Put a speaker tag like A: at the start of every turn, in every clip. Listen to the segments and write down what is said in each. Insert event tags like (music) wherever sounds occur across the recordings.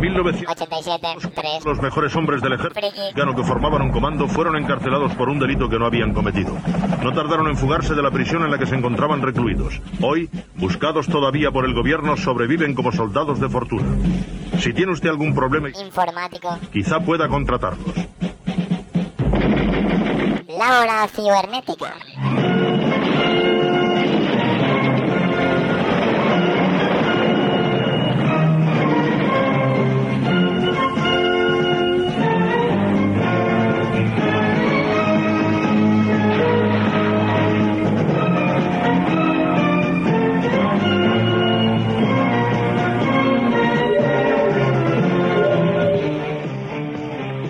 A: 1987, 3.
B: Los mejores hombres del ejército
A: Friki.
B: mexicano que formaban un comando fueron encarcelados por un delito que no habían cometido. No tardaron en fugarse de la prisión en la que se encontraban recluidos. Hoy, buscados todavía por el gobierno, sobreviven como soldados de fortuna. Si tiene usted algún problema,
A: Informático.
B: quizá pueda contratarlos.
A: La hora cibernética.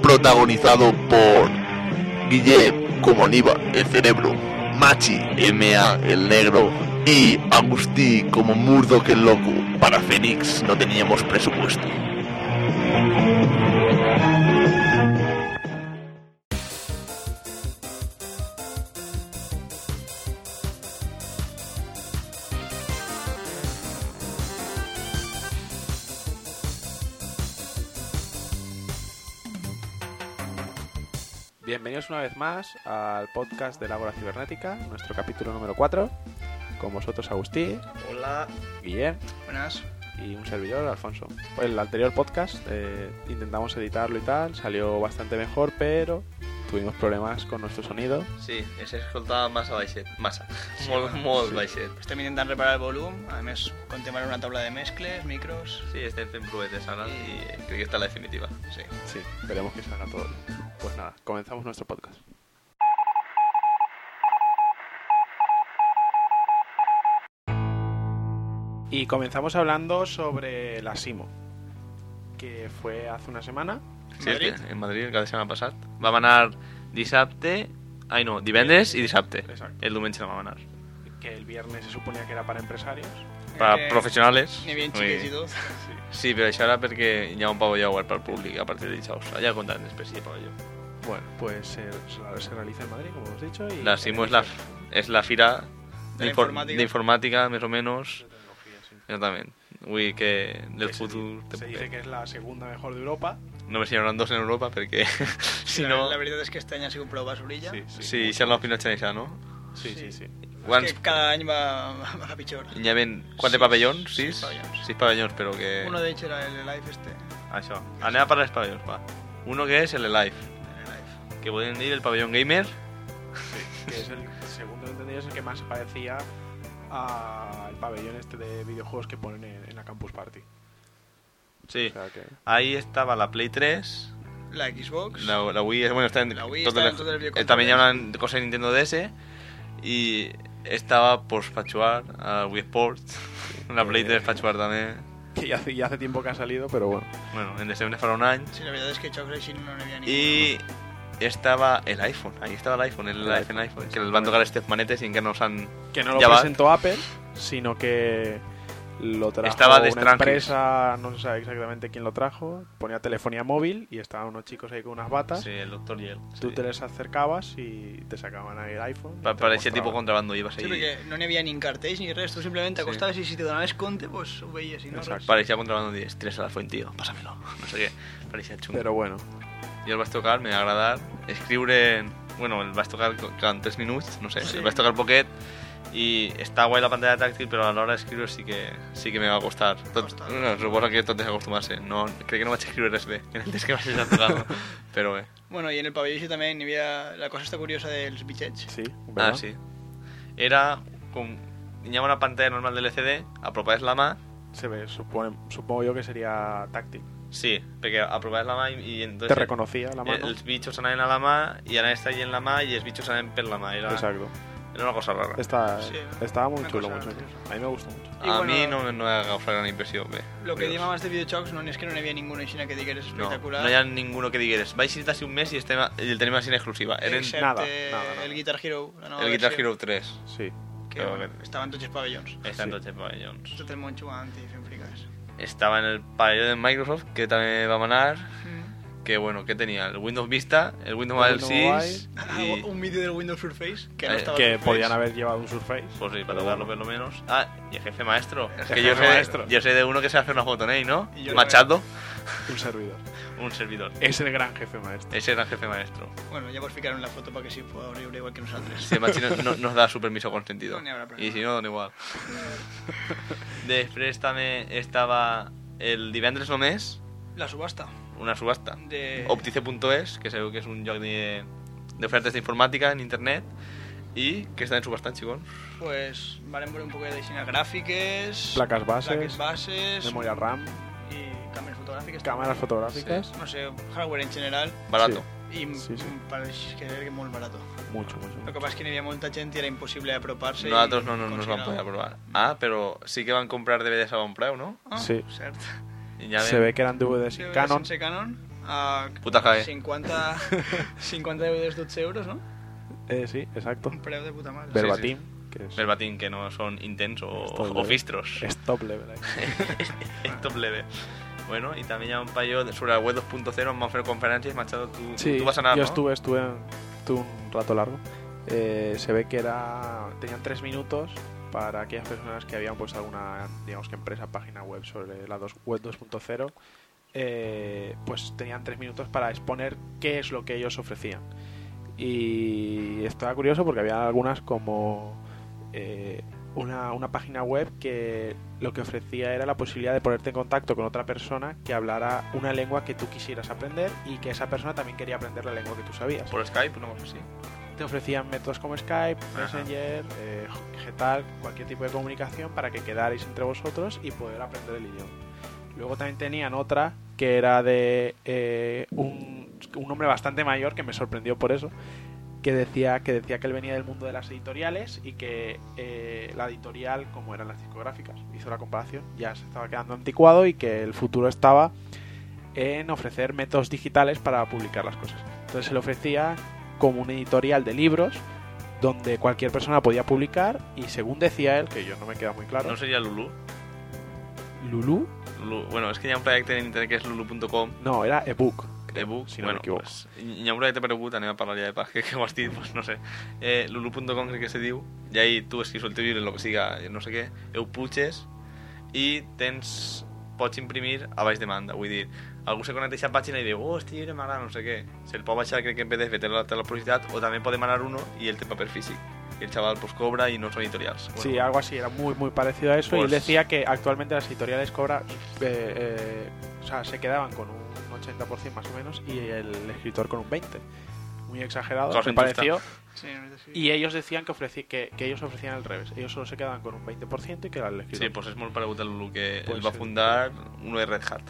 C: protagonizado por Guillem como Aníbal, el cerebro, Machi, M.A., el negro, y Agustí como Murdoch, el loco. Para Fénix no teníamos presupuesto.
D: Bienvenidos una vez más al podcast de la Hora Cibernética, nuestro capítulo número 4. Con vosotros Agustín,
E: Hola,
D: Guillem
E: buenas.
D: y un servidor, Alfonso. El anterior podcast eh, intentamos editarlo y tal, salió bastante mejor, pero tuvimos problemas con nuestro sonido.
E: Sí, es escoltava massa baixet. Massa. molt, molt baixet.
F: Estem intentant reparar el volum, a més contem ara una taula de mescles, micros...
E: Sí, estem fent provetes ara i crec que està la definitiva. Sí.
D: Sí, esperemos que salga todo bien. Pues nada, comenzamos nuestro podcast. Y comenzamos hablando sobre la Simo, que fue hace una semana.
E: sí és que en Madrid el cap de setmana passat vam anar dissabte... Ai, no, divendres i dissabte.
D: Exacto.
E: El diumenge no vam anar.
D: Que el viernes se suponía que era para empresarios.
E: Per
F: Eh,
E: professionals...
F: N'hi havia
E: vull
F: xiquets i
E: dir.
F: tot.
E: Sí, però això era perquè hi ha un pavelló obert pel públic a partir de dijous. Allà comptant després hi ha pavelló.
D: Bueno, pues se, se- se realiza en Madrid, como hemos dicho. Y
E: La Simo és la, és la fira
F: De la
E: d'infor-
F: informàtica.
E: d'informàtica, més o menys.
D: Tecnología, sí.
E: Exactament. Vull dir que del
D: Que se
E: futur...
D: di- Se dice que es la segunda mejor de Europa.
E: Només hi hauran dos en Europa perquè (laughs) si
F: la,
E: no...
F: la veritat és que aquest any ha sigut prou basurilla.
E: Sí, Charlotte Pinochet això, no?
D: sí, sí,
F: sí.
D: sí.
E: Quants,
F: És que cada any va, va a pitjor.
E: hi havien quatre
F: Sis-
E: pavellons?
F: sis
E: Sis?
F: pavellons.
E: Sis pavellons, però que... Ah,
F: Uno d'ells era el Life este.
E: Això. Anem a parlar dels pavellons, va. Uno que és el Live,
F: El Life.
E: que podem dir el pavellón gamer.
D: que es el segundo entendido es el que más se parecía al pabellón este de videojuegos que ponen en, en la Campus Party.
E: Sí.
D: O sea que-
E: Ahí estava la Play 3,
F: La Xbox.
E: la, la Wii, bueno, està en,
F: La Wii
E: tot
F: està
E: el-
F: en totes les videoconsoles.
E: eh, també hi ha una cosa de Nintendo DS i estava pues, per jugar a Wii Sports, (laughs) la Play 3 per jugar també.
D: que ya hace, ya hace tiempo que ha salido, pero bueno.
E: Bueno, en desembre farà un any.
F: Sí, la veritat és que jocs així no n'hi havia ni
E: Y estaba el iPhone, ahí estaba el iPhone, el,
D: El iPhone,
E: iPhone, el iPhone, que les van a tocar estas manetes y que nos han...
D: Que no lo
E: Ya va.
D: presentó Apple, sino que lo trajo
E: Estaba de
D: una
E: Strangis.
D: empresa, no se sabe exactamente quién lo trajo, ponía telefonía móvil y estaban unos chicos ahí con unas batas.
E: Sí, el doctor y él.
D: Tú te les acercabas y te sacaban ahí el iPhone. y
E: Para,
D: te
E: para
D: lo
E: ese tipo
D: mostraban.
E: contrabando ibas
F: Sí,
E: ahí.
F: perquè no n'hi havia ni cartells ni res, tu simplement t'acostaves i si te donaves compte, pues, ho veies i no
D: Exacte.
F: res.
E: Parecía contrabando y estrés a la fuente, tío, pásamelo. (laughs) No sé qué, parecía chungo.
D: Pero bueno,
E: I el vas tocar, me va agradar, escriure... Bueno, el vas tocar en 3 minuts, no sé,
F: Sí.
E: el vas tocar poquet i està guai la pantalla tàctil, però a l'hora d'escriure sí que, sí que me va costar. Tot,
F: Costar.
E: no, suposo que tot és acostumar-se. No, crec que no vaig escriure res (laughs) bé, en el temps que vaig estar tocant, però bé.
F: Bueno, i en el pavelló així també n'hi havia la cosa està curiosa dels bitxets.
D: sí.
E: Ah,
D: ¿verdad?
E: sí. Era con... Tenía una pantalla normal del LCD, apropaves la mà,
D: Se ve, supone- supongo yo que sería táctil.
E: sí, perquè apropaves la mà i, i
D: Te
E: entonces...
D: reconocía la
E: eh,
D: mano.
E: Els bitxos anaven a la mà i anaven estar allà en la mà i els bitxos anaven per la mà. Era,
D: Exacto.
E: era una cosa rara.
D: Está,
F: Sí, ¿no?
D: estaba muy
F: Una
D: chulo,
F: cosa
D: muy chulo. A
F: graciosa.
D: mí me gustó mucho.
F: Y
E: a
F: bueno,
E: mi no, no ha causado gran impressió, bé.
F: Lo que
E: Però-
F: diem abans de videojocs no és que no n'hi havia ningú aixina que digueres
E: no,
F: espectacular.
E: no hi ha ningú que digueres vaig visitar hace un mes i, estem a, i el tenim així en exclusiva. Eren
F: Excepte
D: Nada, nada, nada.
F: el Guitar Hero. La nova
E: el Guitar
F: versió,
E: Hero 3.
D: Sí.
F: Que
E: Però
F: bueno,
E: aquest-
F: estaven tots els pavellons.
E: Estan tots els pavellons.
F: Tot el món jugant i fent friques.
E: Estava en el pavelló de Microsoft, que també vam anar,
F: Mm.
E: que bueno, que tenía el Windows Vista, el Windows
D: El
E: Mobile
D: Windows
E: 6
F: Ah,
E: y
F: Un vídeo del Windows Surface que no
E: Eh,
F: estava
D: Que
F: Surface.
D: podían haber llevado un Surface.
E: pues sí, para tocarlo por lo menos. Ah, y el jefe maestro, que
D: jefe
E: yo sé,
D: maestro.
E: yo sé de uno que se hace una foto en él, ¿no?
F: Y yo no.
E: Machado.
D: Un servidor.
E: un servidor.
D: Es el gran jefe maestro.
E: Ese era el jefe maestro.
F: Bueno, ya verificaron la foto para que sí pueda abrir igual que nosotros.
E: Si además si no, no- nos da su permiso consentido.
F: No, ni habrá problema.
E: y si no, da igual. Després també estava el divendres només
F: La subasta
E: una subasta.
F: de...
E: Optice.es, que sabeu que és un lloc de- d'ofertes d'informàtica en internet i que estan subastant, xicons.
F: Pues varen veure un poquet de xina gràfiques...
D: Plaques bases,
F: Plaques bases...
D: Memoria RAM,
F: I càmeres fotogràfiques.
D: cámaras fotográficas.
F: No sé, hardware en general.
E: Barato.
F: I
D: Sí, sí.
F: em pareix que era molt barat. El
D: Mucho, mucho.
F: que passa és que n'hi havia molta gent i era impossible apropar-se. i
E: Nosaltres no, no, no ens vam
F: aconseguir-ho.
E: poder provar. Ah, però sí que van comprar DVDs a bon preu, no?
F: Ah,
D: Sí.
F: Cert.
E: I ja
D: Se
E: vam-
D: ve que eran DVDs
F: Pues Sí,
D: sin
F: Canon.
D: Canon.
F: Sense Canon. A
E: Puta jae. (laughs)
F: 50, 50 euros, 12 euros, no?
D: Eh, sí, exacto.
F: Un preu de puta mare.
E: Verba-
D: Verbatim, que es
E: Verbatim, que no son intensos
D: Esto
E: o,
D: es
E: o
D: verdad.
E: fistros.
D: es top
E: (laughs)
D: level. ahí.
E: Es top level. Bueno, y también ya un payo de- sobre la web 2.0, vamos a hacer conferencias, Machado, tú,
D: Sí,
E: tú vas a nadar,
D: yo
E: ¿no?
D: estuve, estuve, estuve un rato largo. Eh, se ve que era tenían tres minutos para aquellas personas que habían puesto alguna, digamos que empresa, página web sobre la dos- web 2.0, eh, pues tenían tres minutos para exponer qué es lo que ellos ofrecían. Y estaba curioso porque había algunas como eh, una, una página web que lo que ofrecía era la posibilidad de ponerte en contacto con otra persona que hablara una lengua que tú quisieras aprender y que esa persona también quería aprender la lengua que tú sabías.
E: Por Skype, una cosa así.
D: Te ofrecían métodos como Skype,
E: Ajá.
D: Messenger, eh, Getal, cualquier tipo de comunicación para que quedarais entre vosotros y poder aprender el idioma. Luego también tenían otra que era de eh, un, un hombre bastante mayor que me sorprendió por eso. Que decía, que decía que él venía del mundo de las editoriales y que eh, la editorial, como eran las discográficas, hizo la comparación, ya se estaba quedando anticuado y que el futuro estaba en ofrecer métodos digitales para publicar las cosas. Entonces se le ofrecía como un editorial de libros donde cualquier persona podía publicar y según decía él, que yo no me queda muy claro,
E: No sería Lulu.
D: Lulu
E: Lulu- Bueno, es que ya un proyecto en internet que es lulu.com,
D: No, era ebook. creo,
E: ebook,
D: si no
E: bueno,
D: me equivoco.
E: pues, hi ha un proyecte per ebook, anem a parlar ja de paje, (laughs) que ho has dit, pues, no sé. Eh, lulu.com crec que se diu, i ahí tu escrius el teu llibre, lo que siga, eh, no sé què, ho puges i tens, pots imprimir a baix demanda, vull dir, algú se connecta a aquesta pàgina i diu, oh, este llibre m'agrada, no sé què, se'l pot baixar, crec que en PDF té la, té la publicitat, o també pot demanar uno i el té en paper físic. I el xaval pues, cobra i no són editorials.
D: Sí, algo así, era muy muy parecido a eso y él
E: Pues-
D: decía que actualmente las editoriales cobran, eh, eh, o sea, se quedaban con un 80% más o menos y el escritor con un 20%. Muy exagerado,
E: Cosa
D: me
E: injusta.
D: pareció.
F: Sí, la veritat sí.
D: Y ellos decían que, ofreci- que, que ellos ofrecían al revés, ellos solo se quedaban con un 20% y que era el escritor.
E: Sí, pues és molt paregut a Lulu, que
D: Pues
E: el va
D: sí.
E: fundar uno de Red Hat.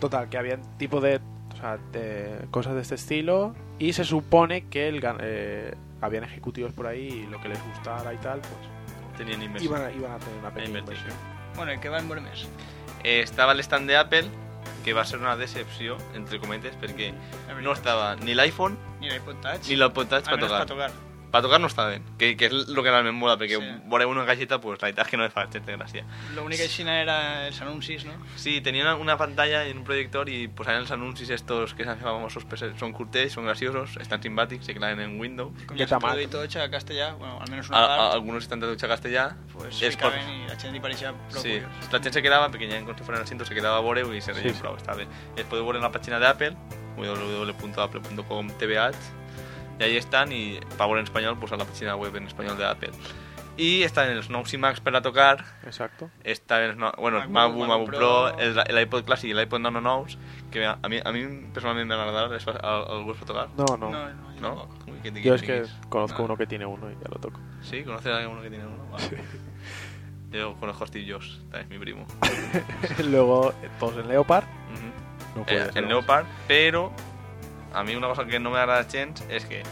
D: Total, que habían tipo de, o sea, de cosas de este estilo y se supone que el, gan- eh, habían ejecutivos por ahí y lo que les gustara y tal, pues
E: Tenien inversió.
D: iban a, iban a tener una pequeña
E: inversión.
D: inversión.
F: Bueno, i què van veure més?
E: Eh, estava el stand de Apple, que va ser una decepció, entre cometes, perquè
F: La veritat.
E: no estava ni l'iPhone
F: Ni l'iPod Touch. Ah,
E: ni l'iPod Touch per
F: Almenys
E: tocar.
F: per tocar.
E: Per tocar no estaven, que, que és el que realment mola, perquè
F: Sí.
E: sí. veureu una galleta, pues, la veritat és que no li fa certa gràcia.
F: L'única aixina era els anuncis, no?
E: Sí, tenien una pantalla i un pues, projector i posaven els anuncis estos que s'han fet famosos, pues, per ser- són curtells, són graciosos, estan simpàtics, se claven en Windows.
F: Com
D: Què
F: ja s'ha
D: t'amaga?
F: traduït tot a castellà, bueno, almenys
E: A,
F: una
E: a,
F: part,
E: algunos estan traduïts a castellà.
F: pues
E: és
F: ficaven i la gent li pareixia prou
E: Sí,
F: curiós.
E: la gent se quedava, perquè ja en quan se fueran al cinto se quedava a veure i se reia
D: Sí, sí.
E: sí. prou, està bé. I es podeu veure en la pàgina d'Apple, www.apple.com tbh, i ahí estan, i per veure en espanyol, pues, a la pàgina web en espanyol d'Apple. I estaven els nous iMacs per a tocar,
D: Exacto.
E: estaven els, no... bueno, el MacBook,
F: MacBook, MacBook
E: MacBook Pro,
F: Pro.
E: el- l'iPod clàssic i l'iPod nano nous, que a mi, a mi personalment m'agradarà, les fa- el, el vols tocar?
D: No,
F: No,
D: no.
F: no, no, jo
E: No?
F: tampoc.
E: Uy, que te-
D: Yo es que
E: tinguis.
D: conozco
E: Ah.
D: uno que tiene uno y ya lo toco. (laughs)
E: ¿Sí? ¿Conoces a alguno que tiene uno? Vale. Yo conozco a Steve Jobs, también es mi primo.
D: Luego, eh, todos en Leopard.
E: Ujú.
D: No puede
E: eh,
D: ser
E: el
D: más.
E: Leopard, pero a mí una cosa que no me agrada Chance es que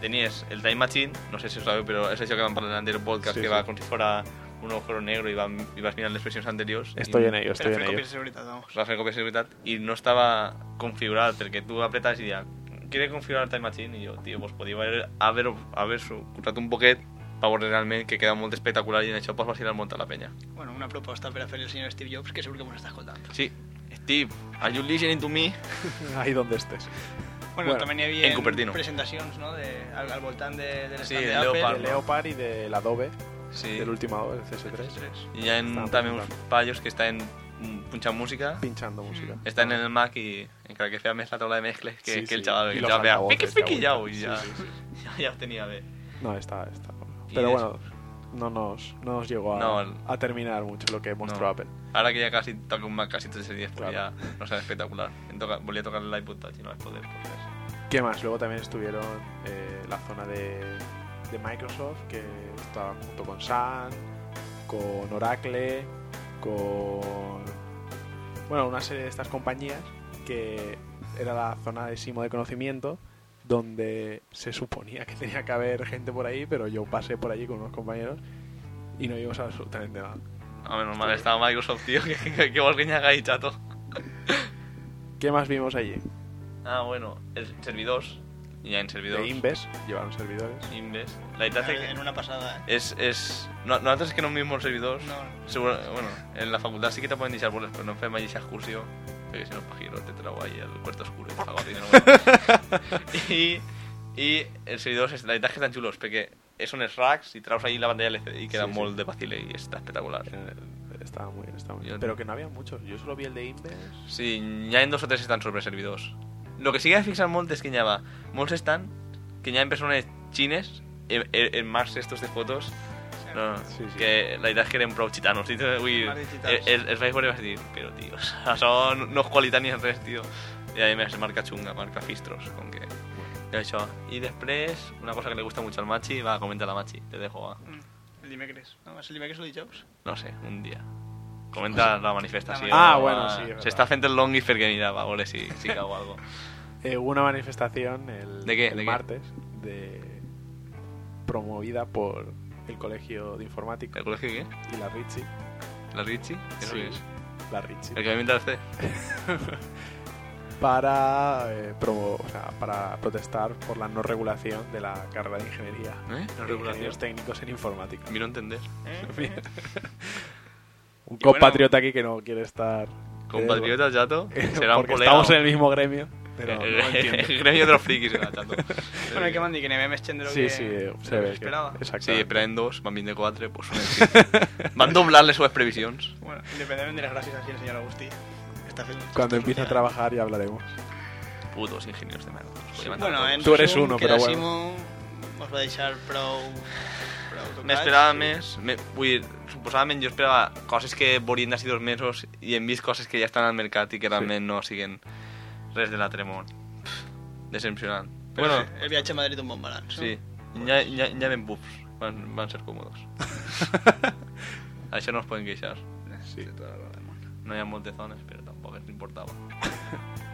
E: tenías el Time Machine, no sé si os sabéis, pero es eso que van para el anterior podcast,
D: Sí,
E: que
D: sí.
E: va como si fuera un agujero negro y, van- y vas mirando las expresiones anteriores.
D: Estoy
E: y,
D: en ello,
F: Però
D: estoy en
F: fer
D: ello.
F: copies de seguretat, vamos.
E: Vas a hacer copias de seguridad y no estaba configurado, porque tú apretas y ya, ¿quiere configurar el Time Machine? Y yo, tío, pues podía haber, haber, haber su- currado un poquet para veure realment que queda molt espectacular i en això pots pues, vacilar molt a la penya.
F: Bueno, una proposta per a fer el senyor Steve Jobs, que segur que mos està escoltant.
E: Sí, Steve, are you listening to me?
D: (laughs) Ahí donde estés.
F: Bueno,
D: Bueno,
F: també n'hi havia
E: en Cupertino.
F: presentacions, no?, de, al, al voltant de, de
E: Sí,
F: l'estand
E: de
F: de Apple.
E: Leopard.
D: Del Leopard y del Adobe,
E: Sí.
D: del último Adobe, el CS3.
E: Hi ha
D: Estava
E: també uns
D: pensant.
E: pallos que estaven mm, punxant música,
D: pinchando música.
E: està en el Mac i encara que feia més la taula de mescles que,
D: Sí,
E: que el
D: sí.
E: xaval,
D: I
E: que el
D: los
E: xaval feia
D: altavoces
E: piqui piqui
D: que
E: ya,
D: aguantan.
E: i ja,
D: Sí, sí,
E: ja, (laughs) ja ho tenia bé.
D: No, está, está.
E: Y
D: Pero
E: de
D: bueno, no nos, no nos llegó a,
E: No, el-
D: a terminar mucho lo que mostró
E: No.
D: Apple.
E: Ahora que ya casi toca un Mac casi 3 y 10, pues
D: Claro.
E: ya no sabe espectacular. Me toca- volví a tocar el iPod Touch y no es poder. Pues es.
D: ¿Qué más? Luego también estuvieron eh, la zona de, de Microsoft, que estaba junto con Sun, con Oracle, con. Bueno, una serie de estas compañías que era la zona de Simo de conocimiento, donde se suponía que tenía que haber gente por ahí, pero yo pasé por allí con unos compañeros y no vimos absolutamente nada.
E: A ver, normal estaba Microsoft, tío, (laughs) que, que, que vos guiñaga ahí, chato.
D: ¿Qué más vimos allí?
E: Ah, bueno, el servidor. Ya en servidor.
D: De Inves, llevaron servidores.
E: Inves. La verdad es que
F: En una pasada, ¿eh?
E: es... es... No, nosaltres que no mismo el servidor,
F: No,
E: seguro, bueno, en la facultad sí que te pueden deixar boles, però no fem allí esa excursió, perquè si no pajiro te trau ahí el cuarto oscuro i te pago dinero. Bueno. I, I els servidors, la veritat és que estan xulos, perquè són els racks i traus allí la pantalla LCD i queda
D: Sí, sí.
E: molt de pacile i està espectacular.
D: Eh, Estaba muy bien, estaba muy bien.
E: Yo-
D: Pero que no había muchos. Yo solo vi el de Inves.
E: Sí, n'hi ha dos o tres estan sobre servidors. Lo que sí que he fixat molt és que n'hi ha molts estan que n'hi ha persones xines en, en, en marcs estos de fotos No,
D: Sí, sí.
E: que la veritat és que eren prou gitanos, tio. Vull dir,
F: Más de gitanos.
E: el, el vaig veure i vaig dir, però tio, això no- no és qualitat ni res, tio. I a més, marca xunga, marca fistros, com que... I això. I després, una cosa que li gusta mucho al Machi, va, comenta la Machi, te dejo, va.
F: Mm, El dimecres. No, és el dimecres o dijous?
E: No sé, un dia. Comenta la manifestació.
D: Ah,
E: va.
D: bueno, sí, verdad.
E: S'està fent el longis perquè mira, va, a veure si, si cau
D: (laughs)
E: algo.
D: Eh, hubo una manifestación el,
E: ¿De qué?
D: el
E: ¿De qué?
D: martes de promovida por el Colegio de Informática
E: ¿El colegio qué?
D: y la Ritchie.
E: ¿La Richie? ¿Qué
D: Sí,
E: es?
D: La Ritchie.
E: ¿El que alimenta el C? ¿Eh?
D: Para, eh, promo- o sea, para protestar por la no regulación de la carrera de ingeniería.
E: ¿Eh?
D: de
E: ¿La
D: ingenieros
E: regulación?
D: técnicos en informática.
E: Miro entender.
F: Eh?
D: Un
E: bueno-
D: compatriota aquí que no quiere estar.
E: Compatriota, chato, será un
D: eh, (laughs) porque
E: colega.
D: estamos
E: o-
D: en el mismo gremio. (laughs) Pero no
E: el,
D: entiendo.
E: el (laughs) gremio de los frikis, era,
D: (laughs)
E: chato.
F: (laughs) Bueno, hay que mandar que anem més xendro
D: Sí,
F: que...
D: sí, eh,
F: que
D: se ve.
F: esperava.
D: Exacto.
E: Sí, pero en dos, van bien de cuatro, pues...
D: (laughs)
E: una- Van a doblar las sus previsiones.
F: Bueno, independentment de les gràcies aquí al senyor Agustí. que Està fent
D: Cuando empiece
F: empieza
D: a trabajar ya hablaremos.
E: Putos ingenieros de merda. Os voy a matar a
F: Bueno,
E: todos.
F: en
D: Tu eres
F: resum,
D: uno,
F: que
D: però
F: la
D: bueno.
F: Simo us va deixar prou... prou tocats.
E: M'esperava més, me, vull dir, suposadament jo esperava coses que volien d'ací dos mesos i hem vist coses que ja estan al mercat i que realment no siguen res de l'altre món. Pff, Decepcionant.
F: Però
E: Bueno,
F: sí, El viatge a Madrid un bon balanç, no?
E: sí, ja, ja, ja ven bufs, van, van ser còmodes. Això no es poden queixar.
D: Sí.
F: Té tota la raó del món.
E: No hi ha moltes zones, però tampoc ens importava.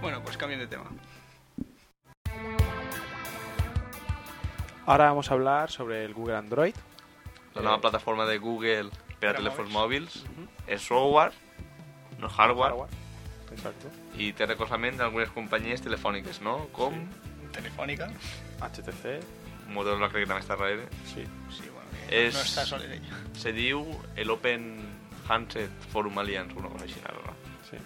F: Bueno, pues canviem de tema.
D: Ahora vamos a hablar sobre el Google Android.
E: La nova
D: Eh.
E: plataforma de Google per a
F: Per a
E: telèfons mòbils és software, no hardware,
D: Exacto.
E: i té recolzament d'algunes companyies telefòniques, no? Com
F: Telefònica.
D: HTC.
E: Motorola crec que també està darrere.
D: Sí.
F: Sí, bueno, que
E: És-
F: no està sol en ella.
E: se diu el Open Handset Forum Alliance, una cosa així, no?
D: sí.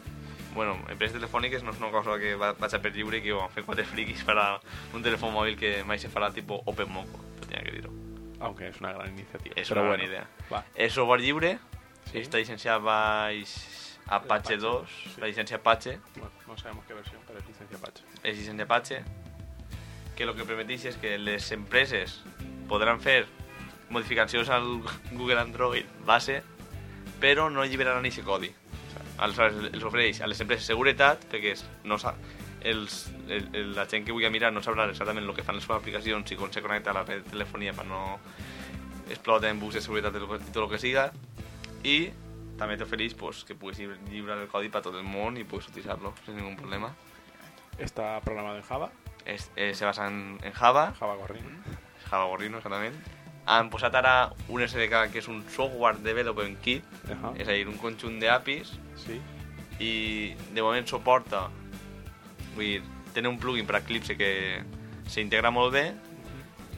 E: Bueno, empreses telefòniques no és una cosa que va, vaig a per lliure i que van fer quatre friquis per a un telèfon mòbil que mai se farà tipus Open Moco, tenia que dir-ho.
D: Aunque es una gran iniciativa.
E: És
D: pero
E: una
D: bueno.
E: bona idea.
D: Va.
E: És software lliure,
D: Sí.
E: sí? està llicenciat baix
D: Apache,
E: Apache 2,
D: sí.
E: la llicència Apache,
D: Bueno, no sabemos qué versión, pero es licencia Apache.
E: és llicència Apache, que el que permeteix és que les empreses podran fer modificacions al Google Android base, però no lliberaran aquest codi. Aleshores, els ofereix a les empreses seguretat, perquè es- no sa- els, el, el, la gent que vulgui mirar no sabrà exactament el que fan les seves aplicacions i com se connecta a la red de telefonia per no explotar en bugs de seguretat i tot- i tot el que siga. I també t'ofereix pues, que puguis llibre- lliurar el codi per tot el món i puguis utilitzar-lo sense ningú problema.
D: Está programado en Java.
E: Es, eh, se basa en, en Java,
D: Java Gorrin.
E: Java Gorrino exactament. Han posat ara un SDK que és un software development kit,
D: Ajá.
E: és a dir, un conjunt d'APIs
D: Sí.
E: i de moment suporta vull dir, tenen un plugin per Eclipse que s'integra molt bé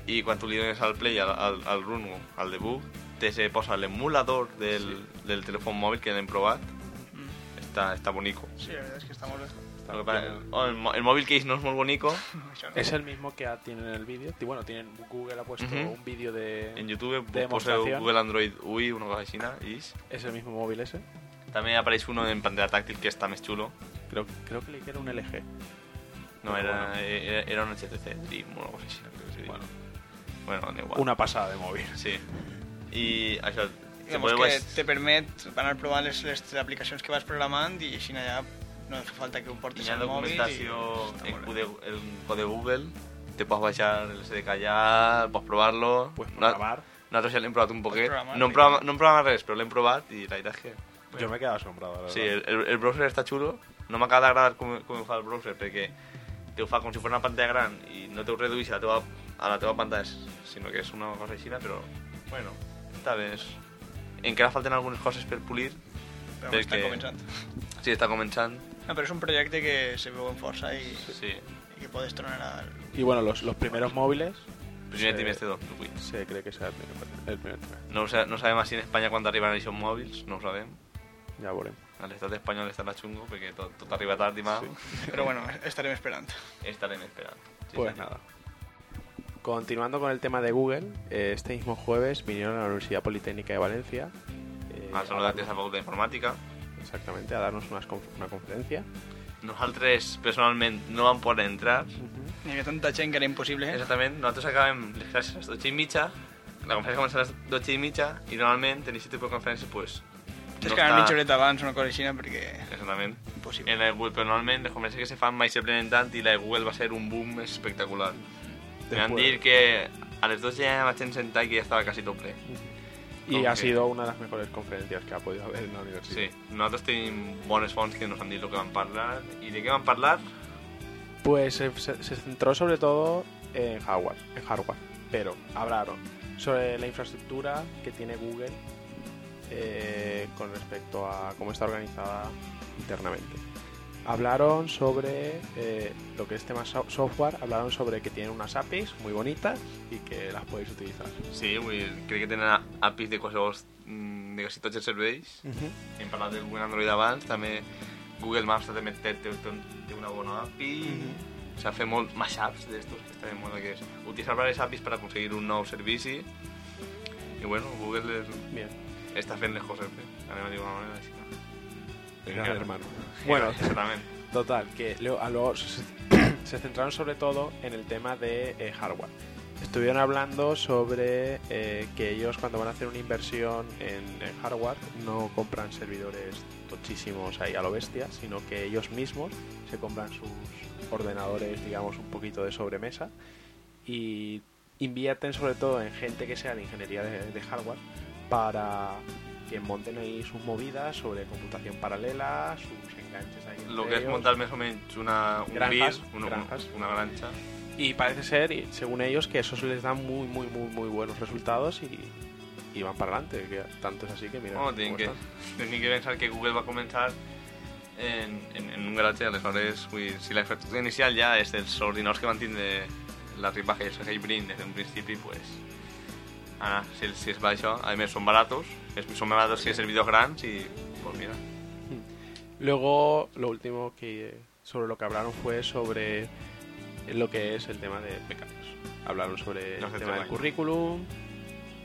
E: i quan tu li dones al play al, al, al run o al debug te se posa l'emulador del, sí. del telèfon mòbil que l'hem provat
F: Mm.
E: està, està bonico
F: Sí, la verdad es que está molt bé.
D: Está
E: el, que passa-
D: bien.
E: el, mo- el mòbil case no és molt bonico
F: Això (laughs) no.
D: Es el mismo que tienen en el vídeo. Ti- Bueno, tienen Google ha puesto
E: Ujú.
D: un vídeo de.
E: en YouTube pues,
D: Demostración.
E: poseu Google Android UI una cosa així i
D: Es el mismo móvil ese.
E: També apareix uno en pantalla tàctil que està més xulo.
D: Creo, creo que le era un LG.
E: No, era, era, era un HTC Dream o alguna cosa així. crec que es diu.
D: Bueno.
E: bueno, da igual.
D: Una passada de mòbil.
E: Sí. I això...
F: Diguem
E: pues
F: que te permet anar provant les, les aplicacions que vas programant i així ja no fa falta que ho portis
E: Hi ha
F: al mòbil.
E: documentació
F: està
E: en
F: molt
E: code, en code Google, te pots baixar el SDK allà, pots provar-lo.
D: Pues
E: No-
D: programar.
E: Nosaltres ja l'hem provat un poquet.
F: programar,
E: No hem,
F: sí.
E: programat, no hem programat res, però l'hem provat i la veritat és que...
D: Jo me he quedat asombrado, la verdad.
E: Sí, el, el, el browser està xulo. No m'acaba d'agradar com, com ho fa el browser, perquè te ho fa com si fos una pantalla gran i no te ho reduís a la teva, a la teva pantalla, sinó que és una cosa així, però... Bueno, està bé. és- Encara falten algunes coses per pulir.
F: Però està
E: perquè-
F: començant.
E: Sí, està començant.
F: No, però és un projecte que se veu en força i,
E: Sí.
F: i que podes tornar al...
D: Y bueno, los, los primeros móviles
E: Primer
D: Sí.
E: trimestre 2008.
D: se cree que será el primer, el primer trimestre.
E: No, ho sa- no sabem si en Espanya quan arribaran aquests mòbils, no ho sabem.
D: Ya volvemos.
E: A l'estat espanyol estarà xungo perquè tot, tot arriba tard i mal. Sí. (laughs)
F: Però bueno, estarem esperant.
E: Estarem esperant. Sí,
D: Pues
E: sí.
D: nada. Continuando con el tema de Google, eh, este mismo jueves vinieron a la Universidad Politécnica de Valencia. eh,
E: A
D: a
E: saludar a
D: darnos-
E: facultat d'informàtica.
D: Exactamente, a darnos unas conf- una conferencia.
E: Nosaltres, personalment, no vam poder entrar.
F: Hi havia tanta gent que era ¿eh? impossible.
E: Exactament, nosaltres acabem les classes a les 12 i mitja, la conferència comença a les 12 i mitja, i normalment en aquest tipus de conferències, pues,
F: Tens que anar mitja horeta abans, una cosa així, perquè...
E: Exactament.
F: Impossible.
E: En la de Google, però normalment les conferències que se fan mai s'aprenen tant i la de Google va ser un boom espectacular. Me van
D: Después.
E: dir que a les 12 ja la gent sentada i que ja estava quasi tot ple.
D: Y
E: Ok.
D: ha sido una de las mejores conferencias que ha podido haber en la universidad.
E: Sí, nosaltres tenim bones fonts que ens han dit el que van parlar. I de què van parlar?
D: Pues eh, se, se centró sobre todo en hardware, en hardware, pero hablaron sobre la infraestructura que tiene Google eh, con respecto a cómo está organizada internamente. Hablaron sobre eh, lo que es tema so- software, hablaron sobre que tienen unas APIs muy bonitas y que las podéis utilizar.
E: Sí, vull dir, crec que tenen APIs de qualsevol mm, de quasi tots els serveis. Hem parlat del Google Android abans, també Google Maps també té, té, té una bona API. O sigui, fer molt mashups d'estos, que està bé molt que és utilitzar varios APIs per aconseguir un nou servici. I bueno, Google és,
D: Bien,
E: està fent les coses bé, també m'ho diu una manera així. no?
D: gracias hermano. Bueno,
E: Exactament.
D: Total, que luego, a los- se, (clears throat) se centraron sobre todo en el tema de eh, hardware. Estuvieron hablando sobre eh, que ellos cuando van a hacer una inversión en, en hardware no compran servidores tochísimos ahí a lo bestia, sino que ellos mismos se compran sus ordenadores, digamos, un poquito de sobremesa y invierten sobre todo en gente que sea de ingeniería de, de hardware para que monten ahí sus movidas sobre computación paralela, sus enganches ahí.
E: Lo
D: entre
E: que és
D: ellos.
E: muntar més o menys una, un
D: Granjas,
E: gris, una,
D: granjas.
E: una granja.
D: Y parece ser, y según ellos, que eso se les da muy, muy, muy, muy buenos resultados y, y van para adelante. Que tanto es así que, mira.
E: Bueno,
D: cómo
E: tenim que,
D: están.
E: tenim que pensar que Google va començar en, en, en un garatge, aleshores, vull dir, si la infraestructura inicial ja és dels ordinadors que van tindre la ripa que és Hybrid des d'un principi, pues, ara, si, si es va això, a més són baratos, és, són més baratos que servidors grans i, pues mira,
D: Luego, lo último que sobre lo que hablaron fue sobre lo que es el tema de becarios. Hablaron sobre
E: No
D: el
E: hace
D: tema del
E: tamaño.
D: currículum,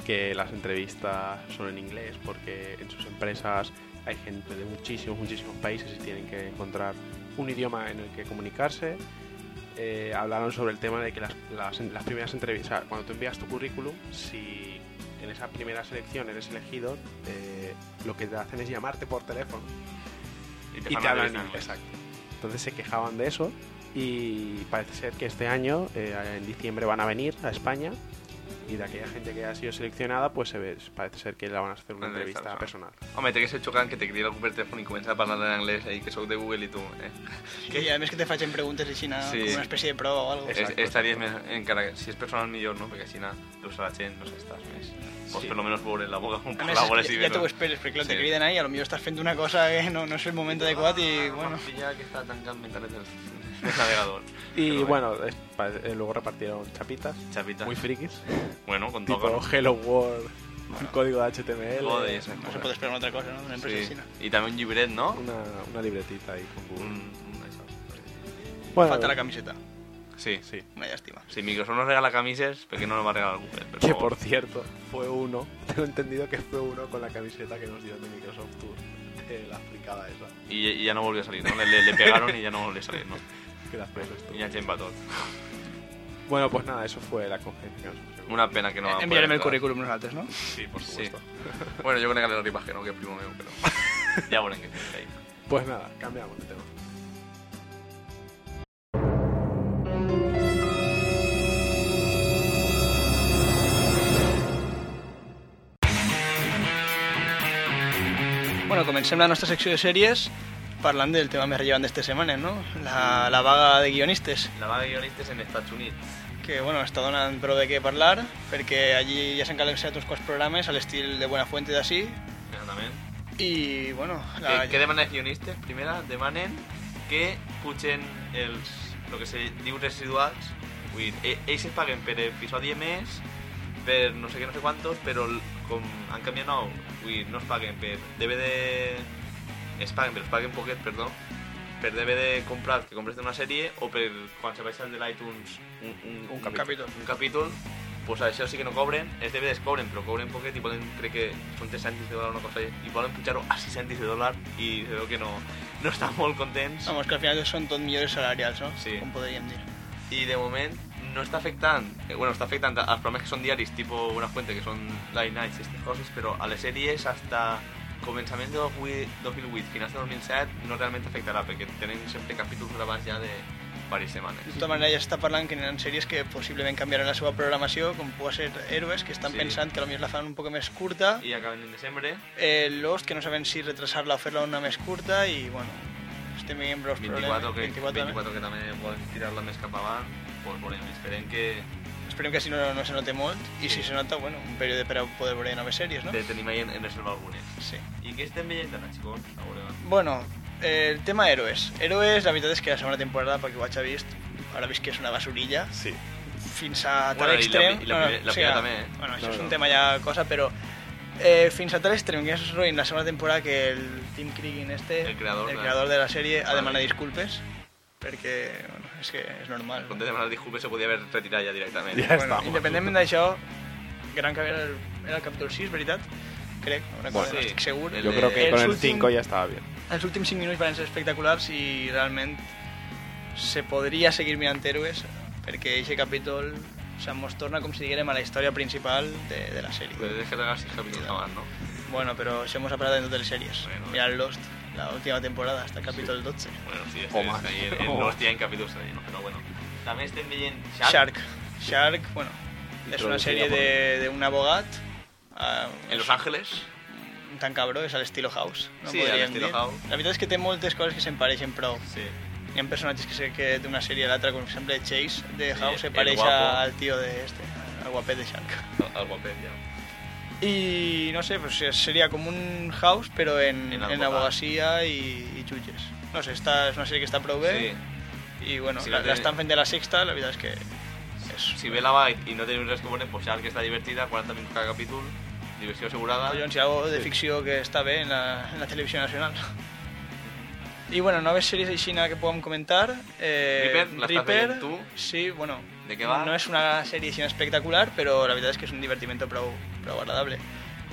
D: que las entrevistas son en inglés porque en sus empresas hay gente de muchísimos, muchísimos países y tienen que encontrar un idioma en el que comunicarse. Eh, hablaron sobre el tema de que las, las- las primeras entrevistas, cuando tú envías tu currículum, si en esa primera selección eres elegido, eh, lo que te hacen es llamarte por teléfono
E: i
D: y te
E: fan la
D: hablan en
E: entrevista en
D: inglès. Exacto. Entonces se quejaban de eso y parece ser que este año, eh, en diciembre, van a venir a España y de aquella gente que ha sido seleccionada, pues se ve, parece ser que la van a hacer una
E: Una entrevista
D: entrevista personal.
E: Home, té que ser xocant que te cridi algú per telèfon i comença a parlar en anglès i que sóc de Google i tu, eh?
F: Que I a més que te facin preguntes així, no?
E: Sí.
F: com una espècie de prova o alguna
E: Es,
F: cosa.
D: Exacto,
E: estaries més,
D: exacto.
E: encara que si és personal millor, no? Perquè així na, veus a la gent, no sé, estàs més... Pots
D: Sí.
E: per lo menos veure la boca on
F: A més,
E: parla, veure
F: ja,
E: si
F: ja t'ho esperes, perquè clar, te
E: Sí.
F: criden ahí, a lo millor estàs fent una cosa que no, no és el moment adequat i, bueno...
E: Pilla Ah, que està tancant mentalment el, el navegador.
D: (laughs) Y
E: Pero
D: bueno, eh, pa- eh, luego repartieron chapitas
E: Chapita.
D: muy frikis,
E: Bueno, con
D: tipo
E: todo. ¿no?
D: Hello World, un código de HTML,
E: Joder, esas
F: No se
E: cosas.
F: pot esperar una altra cosa, no? Una empresa
E: Sí.
F: així, no?
E: I també un llibret, no?
D: una, una libretita ahí con Google.
E: Un, un això.
D: Bueno,
F: Falta la camiseta.
E: Sí.
D: sí.
F: Una llàstima.
E: Si Microsoft no regala camises, ¿por qué no lo va a regalar Google? Pero
D: Que (laughs) por cierto, fue uno, tengo entendido que fue uno con la camiseta que nos dio de Microsoft Tour. eh, la fricada esa.
E: Y, y ja no volia salir, no? Le, le, le pegaron y ya no volia salir, no?
D: Gracioso esto.
E: I la gent va tot.
D: Bueno, pues nada, eso fue la conferencia.
E: Una pena que no vam
F: Enviarem el
E: poder
F: currículum nosaltres, no?
E: entrar. Sí, por
D: Sí.
E: supuesto. Bueno, yo con el Ribaje, ¿no? Que es primo mío, pero...
F: (laughs)
E: ya bueno, que está ahí.
D: Pues nada, cambiamos de tema.
F: Bueno, comencem la nostra secció de sèries parlant del tema més rellevant d'esta setmana, no? La, la vaga de guionistes,
E: La vaga de guionistes en Estats Units.
F: que, bueno, està donant prou de què parlar, perquè allí ja s'han calençat uns quants programes a l'estil de Buena Fuente d'ací,
E: Exactament.
F: i, bueno... La...
E: Què, què demanen els guionistes? Primera, demanen que pugen els, el que se diu residuals. Vull dir, e- ells es paguen per episodi més, per no sé què, no sé quantos, però el- com han canviat nou, vull dir, no es paguen per DVD... Es paguen, però es paguen poquet, perdó, per DVD comprat, que compres d'una sèrie, o per quan se baixa el de l'iTunes un, un,
F: Un capítol.
E: Un capítol, pues això sí que no cobren, els DVDs cobren, però cobren poquet i poden, crec que són 3 cèntims de dòlar o una cosa, així, i poden pujar-ho a 6 cèntims de dòlar i se veu que no, no estan molt contents.
F: Vamos, que al final són tot millores salarials, no?
E: Sí.
F: Com podríem dir.
E: I de moment no està afectant, eh, bueno, està afectant als programes que són diaris, tipo una fuente, que són Live Nights i aquestes coses, però a les sèries hasta començament de 2008, 2008 finals de 2007 no realment afectarà, perquè tenen sempre capítols gravats ja de diverses setmanes.
F: De tota manera, ja s'està parlant que hi ha sèries que possiblement canviaran la seva programació, com pot ser Héroes, que estan
E: Sí.
F: sí. pensant que potser la fan un poc més curta,
E: I acaben en desembre,
F: eh, Lost, que no saben si retrasar-la o fer-la una més curta, i, bueno, este estem veient prou problemes.
E: 24 que, 24, 24 que també volen tirar-la més cap avant, pues veurem, esperem que
F: eh? Esperem que si no, no se note molt, i
E: Sí.
F: si se nota, bueno, un període per a poder veure noves sèries, no?
E: no? tenim ahí en, en reserva algunes.
F: Sí.
E: I què estem veient ara, xicons? A veure, va.
F: Bueno, eh, el tema Héroes. Héroes, la veritat és que la segona temporada, perquè ho vaig haver vist, ara vist que és una basurilla.
D: Sí.
F: fins a tal
E: Bueno, i la-
F: extrem...
E: i la primer- la primera també, eh?
F: Bueno, això
D: No,
F: és
D: no.
F: un tema ja cosa, però... Eh, fins a tal extrem que és ruïn la segona temporada que el Tim Cregan este,
E: El creador
F: el
E: de-
F: creador de la sèrie, ha
E: Vale.
F: demanat disculpes perquè, bueno, és que és normal.
E: Com de demanar disculpes se podia haver retirat ja directament.
D: Ja
F: bueno,
D: està.
F: independentment d'això, gran que era el, era el capítol 6, veritat? Crec, una
E: Bueno,
F: cosa bueno,
E: sí.
F: estic segur.
E: El
D: Yo
E: de-
D: creo que
F: el
D: con el
F: últim-
D: 5 ya estaba bien.
F: Els últims 5 minuts van ser espectaculars i realment se podria seguir mirant héroes perquè aquest capítol se mos torna com si diguérem a la història principal de, de la
E: Però
F: sèrie.
E: de descarregar si capítols abans, no?
F: Bueno, però se mos ha parlat en totes les sèries.
E: Bueno.
F: Mirad Lost, la última temporada, hasta el capítol 12.
E: Bueno, sí,
D: O
E: estem
D: más.
E: ahí en, en
D: O
E: dos
D: más.
E: hi ha capítols ahí, no? Però bueno. També estem veient Shark.
F: Shark. Shark, bueno, és
E: Introducida
F: una sèrie
E: por-
F: de- d'un abogat eh,
E: En Los Ángeles.
F: un tan cabró, és a l'estilo House. No
E: Sí, a
F: podríem
E: l'estilo
F: dir.
E: House.
F: La veritat és que té moltes coses que se'n pareixen prou.
E: Sí.
F: Hi ha personatges que sé que d'una sèrie a l'altra, com per exemple Chase de
E: Sí,
F: House, se
E: el
F: pareix
E: guapo.
F: al tio de este, al guapet de Shark.
E: El, el guapet, ja.
F: I no sé, pues seria com un House, però
E: En
F: en, en,
E: advocat.
F: abogacia i, i jutges. No sé, està, és una sèrie que està prou
E: Sí.
F: bé i bueno,
E: Sí,
F: sí,
E: la té-
F: l'estan fent de la sexta, la veritat és que és...
E: Si ve la bike i no teniu res que poner, pues Shark està divertida, 40 minuts cada capítol, diversió assegurada.
F: Collons, hi ha algo de ficció que està bé en la, en la televisió nacional. I bueno, noves sèries així que podem comentar. Eh,
E: Reaper, l'estàs veient tu?
F: Sí, bueno.
E: De què va?
F: No és una sèrie així espectacular, però la veritat és que és un divertiment prou, prou agradable.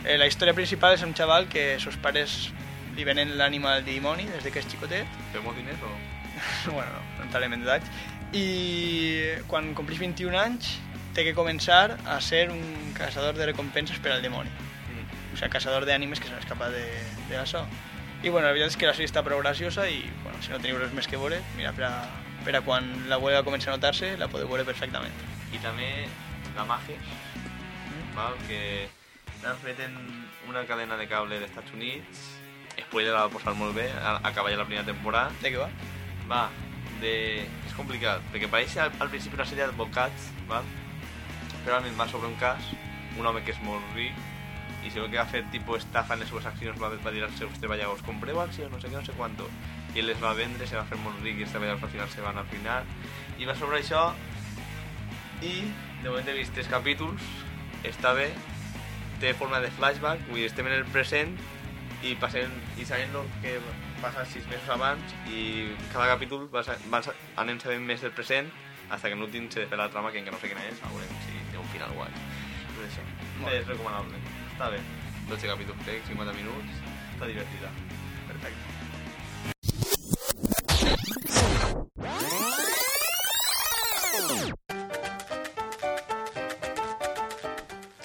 F: Eh, la història principal és un xaval que sus pares li venen l'ànima al dimoni des de que és xicotet
E: Fem diners o...?
F: bueno, no entrarem en detalls, i quan complís 21 anys té que començar a ser un caçador de recompenses per al demoni. O sea, caçador d'ànimes que se n'escapa de, de això. I bueno, la veritat és que la sèrie està prou graciosa i bueno, si no teniu res més que veure, mira, per a, per a quan la web comença a notar-se, la podeu veure perfectament.
E: I també la Mages, val? que han fet en una cadena de cable d'Estats Units. Spoiler la va posar molt bé, a- acaba ja la primera temporada.
F: De què va?
E: Va, de... és complicat, perquè pareix al, al principi una sèrie d'advocats, val? però realment va sobre un cas, un home que és molt ric, i se veu que va fer tipus estafa en les seves accions, va, va dir als seus treballadors, compreu accions, no sé què, no sé quanto, i ell les va vendre, se va fer molt ric i els treballadors al final se van afinar, i va sobre això, i de moment he vist tres capítols, està bé, té forma de flashback, vull dir, estem en el present i passem i sabem el que passa sis mesos abans i cada capítol va, sa- va sa- anem sabent més del present hasta que en l'últim se desvela la trama que encara no sé quina és, veurem si té un final guai. Tot això.
F: Molt bé.
E: És recomanable. Està bé. 12 capítols, crec, 50 minuts. Està divertida.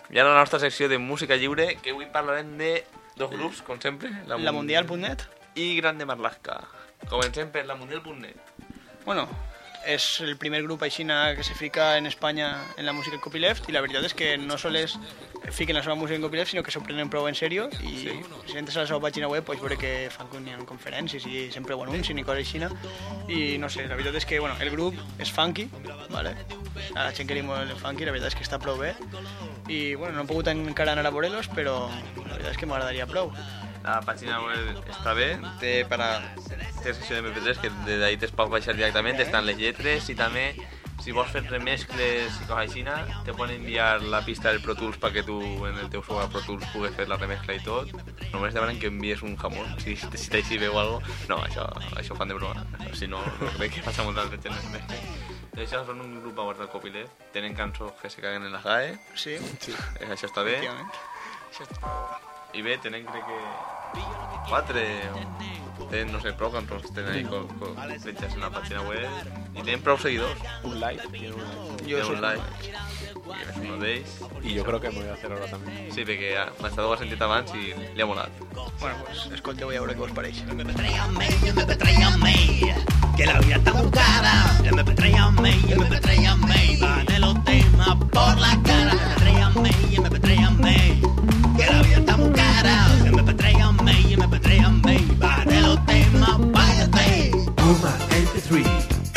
E: I ara la nostra secció de música lliure, que avui parlarem de dos grups, com sempre.
F: La Mundial.net.
E: I Grande Marlaska. Comencem per la Mundial.net.
F: Bueno, és el primer grup aixina que se fica en Espanya en la música en copyleft i la veritat és que no sols fiquen la seva música en copyleft sinó que s'ho prenen prou en sèrio i si entres a la seva pàgina web pots veure que fan con- hi ha conferències i sempre ho anuncien i coses aixina i no sé, la veritat és que bueno, el grup és funky vale? a la gent que li molt el funky la veritat és que està prou bé i bueno, no he pogut encara anar a veure-los però la veritat és que m'agradaria prou
E: La pàgina web està bé, té per a... Té secció de MP3 que de d'ahí te'ls pots baixar directament, estan les lletres i també si vols fer remescles i coses així, te poden enviar la pista del Pro Tools perquè tu en el teu software Pro Tools pugues fer la remescla i tot. Només demanen que envies un jamón, si, si t'així bé o algo. No, això, això ho fan de broma. Si no, no crec que passa molta altra gent en mescla. Això són un grup a guardar copilé. Tenen cançons que se caguen en la GAE,
F: sí, sí.
E: eh, això està bé. I bé, tenen crec que... Quatre o... Tenen, no sé, prou cançons tenen ahí con, con fletxes en la pàgina web i tenen prou seguidors.
D: Un like, tiene un like.
E: Jo un like. I és un d'ells.
D: Y yo creo que me voy a hacer ahora también.
E: Sí, perquè ja m'ha estat ho ha sentit abans i li ha molat.
F: Bueno, pues, escolteu i a veure què us pareix.
G: Tráigame, MP3 tráigame, que la vida está muy cara. MP3 tráigame, MP3 tráigame, va de los temas por la cara. MP3 tráigame, MP3 tráigame, que la vida está muy cara. MP3 tráigame, MP3 tráigame, va de los temas váyate.
H: Puma MP3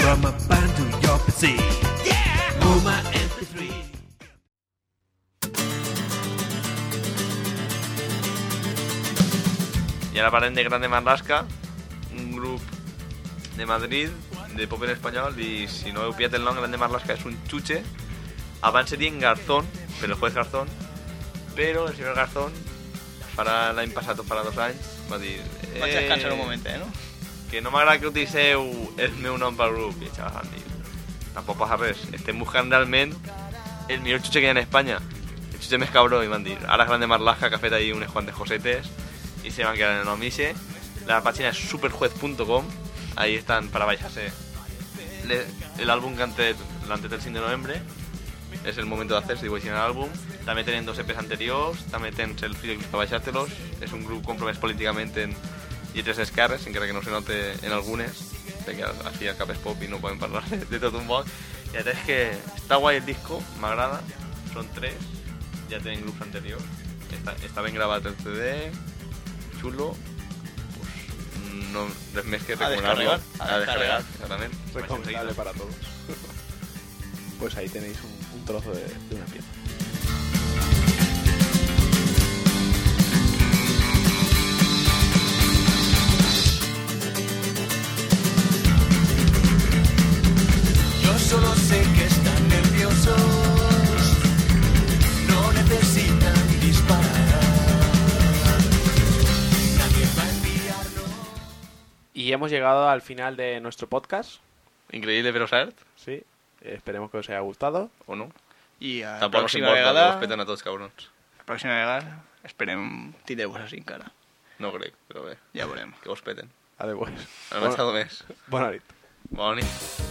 H: from a band to your PC. Yeah! Puma MP3.
E: I ara parlem de Grande Marlaska, un grup de Madrid, de pop en espanyol, i si no heu pillat el nom, Grande Marlaska és un xutxe. Abans serien Garzón, però el juez Garzón, però el senyor Garzón farà l'any passat o farà dos anys, va dir...
F: Vaig a descansar un moment, eh, no?
E: Que no m'agrada que utilitzeu el meu nom pel grup. I el xaval van dir, tampoc passa res, estem buscant realment el millor xutxe que hi ha en Espanya. El xutxe més cabró, i van dir. Ara Grande Marlaska, que ha fet ahí unes quantes cosetes, i se van quedar en el nom ixe. La pàgina és superjuez.com, ahí estan per a baixar-se le- el álbum que han tret, l'han tret el 5 de novembre, es el momento de hacerse, digo, en el álbum. También tienen dos EPs anteriores, también tens el videoclip para baixártelos. Es un grupo compromès políticamente en lletres d'esquerres, encara que no se note en algunes, perquè així el cap és pop i no podem parlar (laughs) de, de tot un poc. I la veritat és que està guai el disco, m'agrada, són tres, ja tenen grups anteriors, està, està ben gravat el CD, xulo, pues, no, res més que
F: A
E: recomanar-lo.
F: descarregar, a descarregar.
E: exactament.
D: Recomendable para todos. (laughs) Pues ahí tenéis un, un trozo de, de una pieza.
G: Yo solo sé que están nerviosos, no necesitan disparar. Nadie va a enviarnos.
D: Y hemos llegado al final de nuestro podcast.
E: Increïble, però cert,
D: Sí. Esperemos que os haya gustado.
E: o no?
F: I a la
E: Tampoc us
F: pròxima
E: importa, vegada...
F: vegada...
E: els peten a tots, cabrons.
F: La pròxima vegada esperem tindreu-vos així encara.
E: No crec, però bé,
F: Ja veurem.
E: que us peten.
D: Adiós.
E: Hem estat més.
D: Buena nit.
E: Bona nit.